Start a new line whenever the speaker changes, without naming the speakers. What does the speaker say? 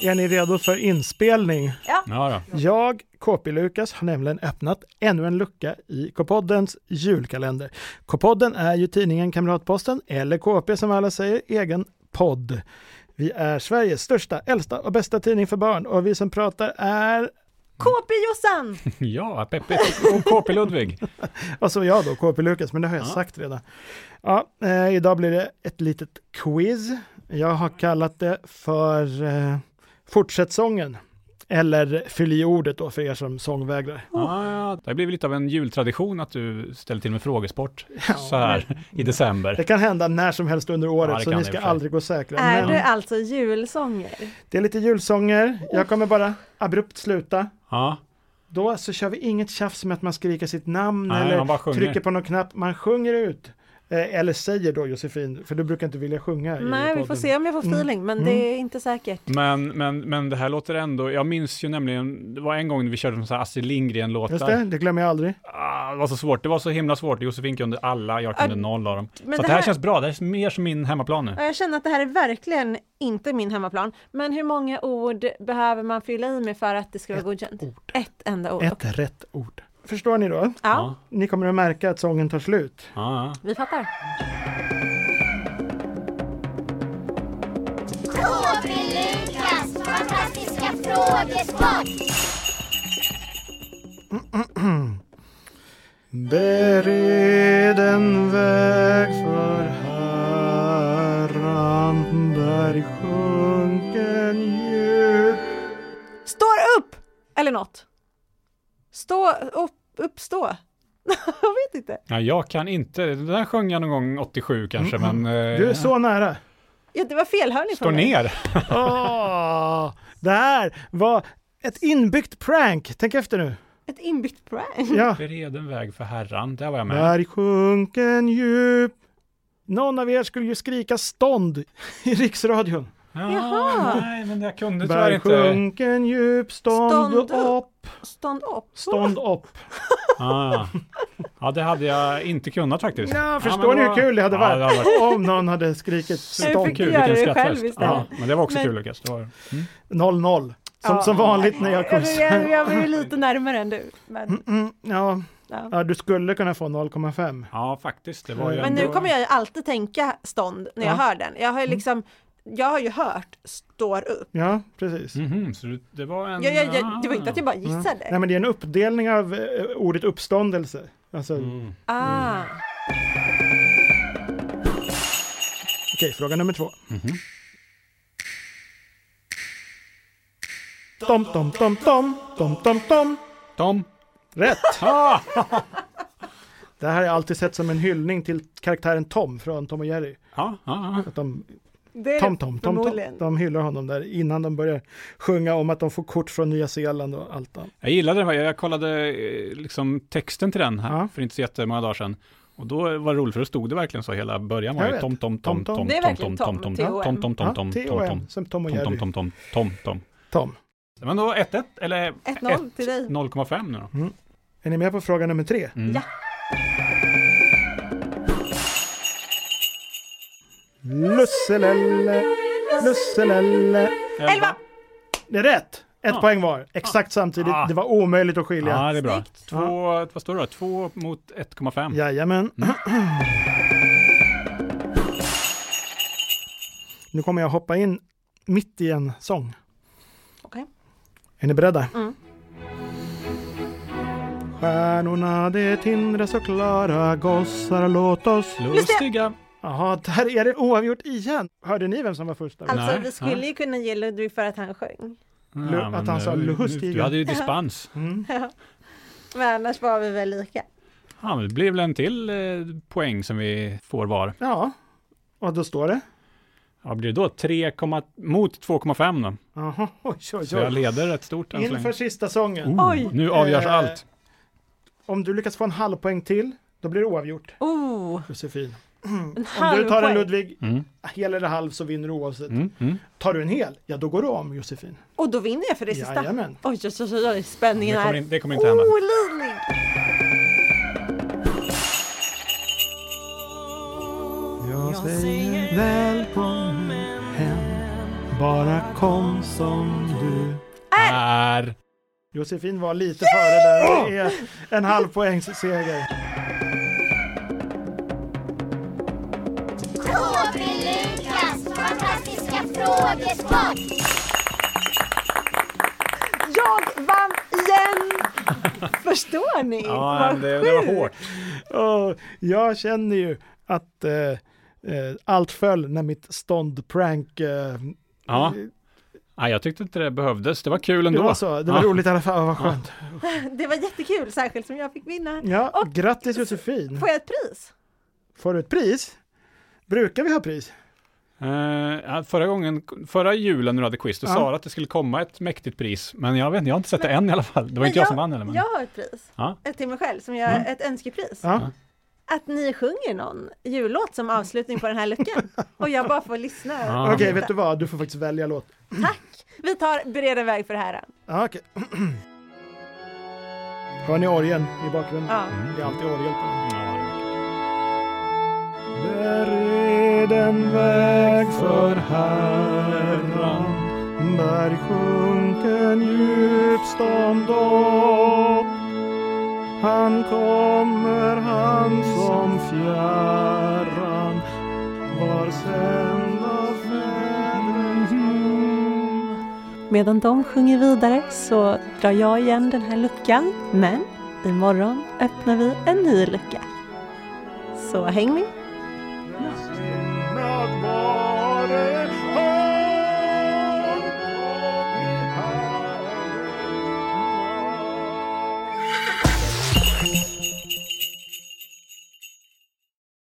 Är ni redo för inspelning?
Ja, då.
Jag, KP-Lukas, har nämligen öppnat ännu en lucka i K-poddens julkalender. K-podden är ju tidningen Kamratposten, eller KP som alla säger, egen podd. Vi är Sveriges största, äldsta och bästa tidning för barn och vi som pratar är,
KP-Jossan!
ja peppigt. Och KP Ludvig.
och så jag då, KP-Lukas, men det har jag sagt redan. Ja, eh, idag blir det ett litet quiz. Jag har kallat det för eh, Fortsätt sången, eller fyll i ordet då för er som sångvägrar.
Ja, ja, det har blivit lite av en jultradition att du ställer till med frågesport så här i december.
Det kan hända när som helst under året,
det
så
kan
ni
det
ska
i och för sig.
aldrig gå säkra.
Är
Men
det alltså julsånger?
det är lite julsånger. Jag kommer bara abrupt sluta.
Ja,
Då så kör vi inget tjafs med att man skriker sitt namn
Nej, man bara
Mm, eller
sjunger.
trycker på någon knapp. Man sjunger ut. Eh, Eller säger då Josefin, för du brukar inte vilja sjunga i
Nej, vi
podden. Mm.
får se om jag får feeling, men det är inte säkert.
men, men, men det här låter ändå, jag minns ju nämligen, det var en gång vi körde någon sån här Astrid
Just det,
Lindgren-låtar.
det glömmer jag aldrig.
Ah, det var så svårt, det var så himla svårt. Josefin kunde alla, jag
Ah,
kunde noll av dem. Så
men
att
det
det här
här-
känns bra, det här är mer som min hemmaplan nu.
Ja, Jag känner att det här är verkligen inte min hemmaplan. Men hur många ord behöver man fylla i med för att det ska vara godkänt? Ett enda ord.
Ett rätt ord. Förstår ni då?
Ja,
Ni kommer att märka att sången tar slut.
Ja, ja.
vi fattar.
KB Lukas fantastiska frågesport!
Bered en väg för Herran där i sjunken djup
Står upp! Eller något. Stå upp, uppstå. jag vet inte.
Ja, jag kan inte, det där sjöng jag någon gång 87 kanske, men... eh,
Mm, Du är så nära.
Ja, det var felhörning
Står
från mig.
ner!
Åh, Ah, det här var ett inbyggt prank. Tänk efter nu.
Ett inbyggt prank.
Ja.
Bered en väg för Herran, där var jag med.
Där i sjunken djup. Någon av er skulle ju skrika stånd i riksradion.
Ja,
Jaha.
Nej, men jag kunde tyvärr
Där
inte.
sjunken djup, stånd,
Stånd upp.
upp.
Stånd upp.
Stånd upp.
Ah. Ja, det hade jag inte kunnat faktiskt.
Ja,
men
förstår
det
ni hur
var-
kul det hade
Ja,
varit?
det hade varit
Om någon hade skrikit
Jag
stånd.
fick
kul,
göra
vilken
det själv
skrattfest.
istället.
Ja, men det var också
Men-
kul Lukas. Det var...
0-0. Som,
Ja.
som vanligt när jag
Jag, jag,
kursar.
jag var ju lite närmare än du. Men,
Mm, ja,
ja.
ja, du skulle kunna få 0,5.
Ja, faktiskt. Det var ju
Men
Men nu
ändå-
kommer jag ju alltid tänka stånd när jag
Ja. Mm.
hör den. Jag har ju liksom, jag har ju hört står upp.
Ja, precis.
Mhm, så du- det var en...
Jag, jag, jag, det var inte att jag bara gissade.
Mm. Nej, men det är en uppdelning av eh, ordet uppståndelse. Alltså,
Ah.
Mm. Okej, fråga nummer två. Tom, tom, tom, tom, tom, tom, tom.
Tom!
Rätt!
Ah!
Det här har jag alltid sett som en hyllning till karaktären Tom från Tom och Jerry.
Ja, ja, ja.
Att de,
Det är
tom,
det
tom, tom, tom,
förmodligen.
de hyllar honom där innan de börjar sjunga om att de får kort från Nya Zeeland och allt annat.
Jag gillade den. Jag kollade eh, liksom texten till den här
Ja.
för inte så jättemånga dagar sedan. Och då var det roligt för då stod det verkligen så hela början
Jag
var ju
vet.
tom tom
Tom,
tom tom
tom.
Det är
tom tom
verkligen
tom
Tom,
tom
T.O.M.
tom tom tom
Ja,
tom
T.O.M.
tom
som Tom och
tom
Jerry.
tom tom tom tom tom
Tom.
Men då 1-1 eller
1-0 till dig.
0,5 nu då?
Är ni med på fråga nummer tre?
Mm.
Ja.
Lusselelle, lusselelle.
Elva!
Det är rätt! Ett
Ja.
poäng var, exakt samtidigt.
Ah.
Det var omöjligt att
Ja,
skilja.
det är bra.
Snyggt.
Två, vad står det då? 2 mot 1,5.
Jajamän.
Mm.
nu kommer jag hoppa in mitt i en sång.
Okej.
Är ni beredda?
Mm.
Stjärnorna det tindrar så klara gossar låt oss
Lustiga.
Jaha, där är det oavgjort igen. Hörde ni vem som var först? där?
Alltså
Nej,
vi skulle ju kunna ge Ludvig för att han sjöng.
Lu-
Ja, men
att han sa
nu-
lustiga.
Du hade ju dispens.
Mm.
Men annars var vi väl lika.
Ja, men det blir väl en till eh, poäng som vi får var.
Ja, och då står det?
Ja, blir det då 3, mot 2,5 då?
Jaha, oj, oj,
Så jag
oj.
leder rätt stort än så
Inför
länge.
sista sången.
Oj.
Oh, nu avgörs
Eh.
allt.
Om du lyckas få en halv poäng till, då blir det oavgjort.
Oh,
Josefin.
en
Om
halv
du tar en
poäng.
Ludvig,
Mm.
hel eller halv så vinner du oavsett.
Mm, mm.
Tar du en hel, ja då går du om Josefin.
Och då vinner jag för det sista.
Jajamän.
Oj, oj, oj, oj,
Det,
spänningen
kommer
är
in, det kommer inte
Oh,
hända.
olidlig.
Jag säger välkommen hem Bara kom som du.
Är.
Josefin var lite före där. Det är en halv poängs seger.
KB Lukas fantastiska frågesport.
Jag vann igen! Förstår ni?
Ja,
Vad
det, det var
sjukt.
hårt.
Åh, jag känner ju att eh, eh, allt föll när mitt ståndprank eh,
Ja. Nej, jag tyckte inte det behövdes. Det var kul
Det
ändå.
var så, det var
Ja.
roligt i alla fall, vad skönt.
Det var jättekul, särskilt som jag fick vinna.
Ja,
Och-
grattis Josefin!
Får jag ett pris?
Får du ett pris? Brukar vi ha pris?
Eh, ja, förra gången, förra julen när du hade quiz, då
Ja.
sa du att det skulle komma ett mäktigt pris. Men jag vet inte, jag har inte sett det än i alla fall. Det var
Men
inte jag, som vann eller? Men...
Jag har ett pris.
Ja.
Ett till mig själv, som jag,
Mm.
ett önskepris.
Ja.
Att ni sjunger någon jullåt som avslutning på den här luckan. Och jag bara får lyssna.
Ja.
Okej, vet du vad? Du får faktiskt välja låt.
Vi tar Bereda väg för Herren.
Ja, okej. Hör ni orgeln i bakgrunden?
Ja.
Mm,
Det är alltid orgel på den.
Ja.
Bered en väg för Herran Berg sjunken djup stånd upp Han kommer, han som fjärran var sänd av hmm. fädrens mor
Medan de sjunger vidare så drar jag igen den här luckan. Men imorgon öppnar vi en ny lucka. Så häng med!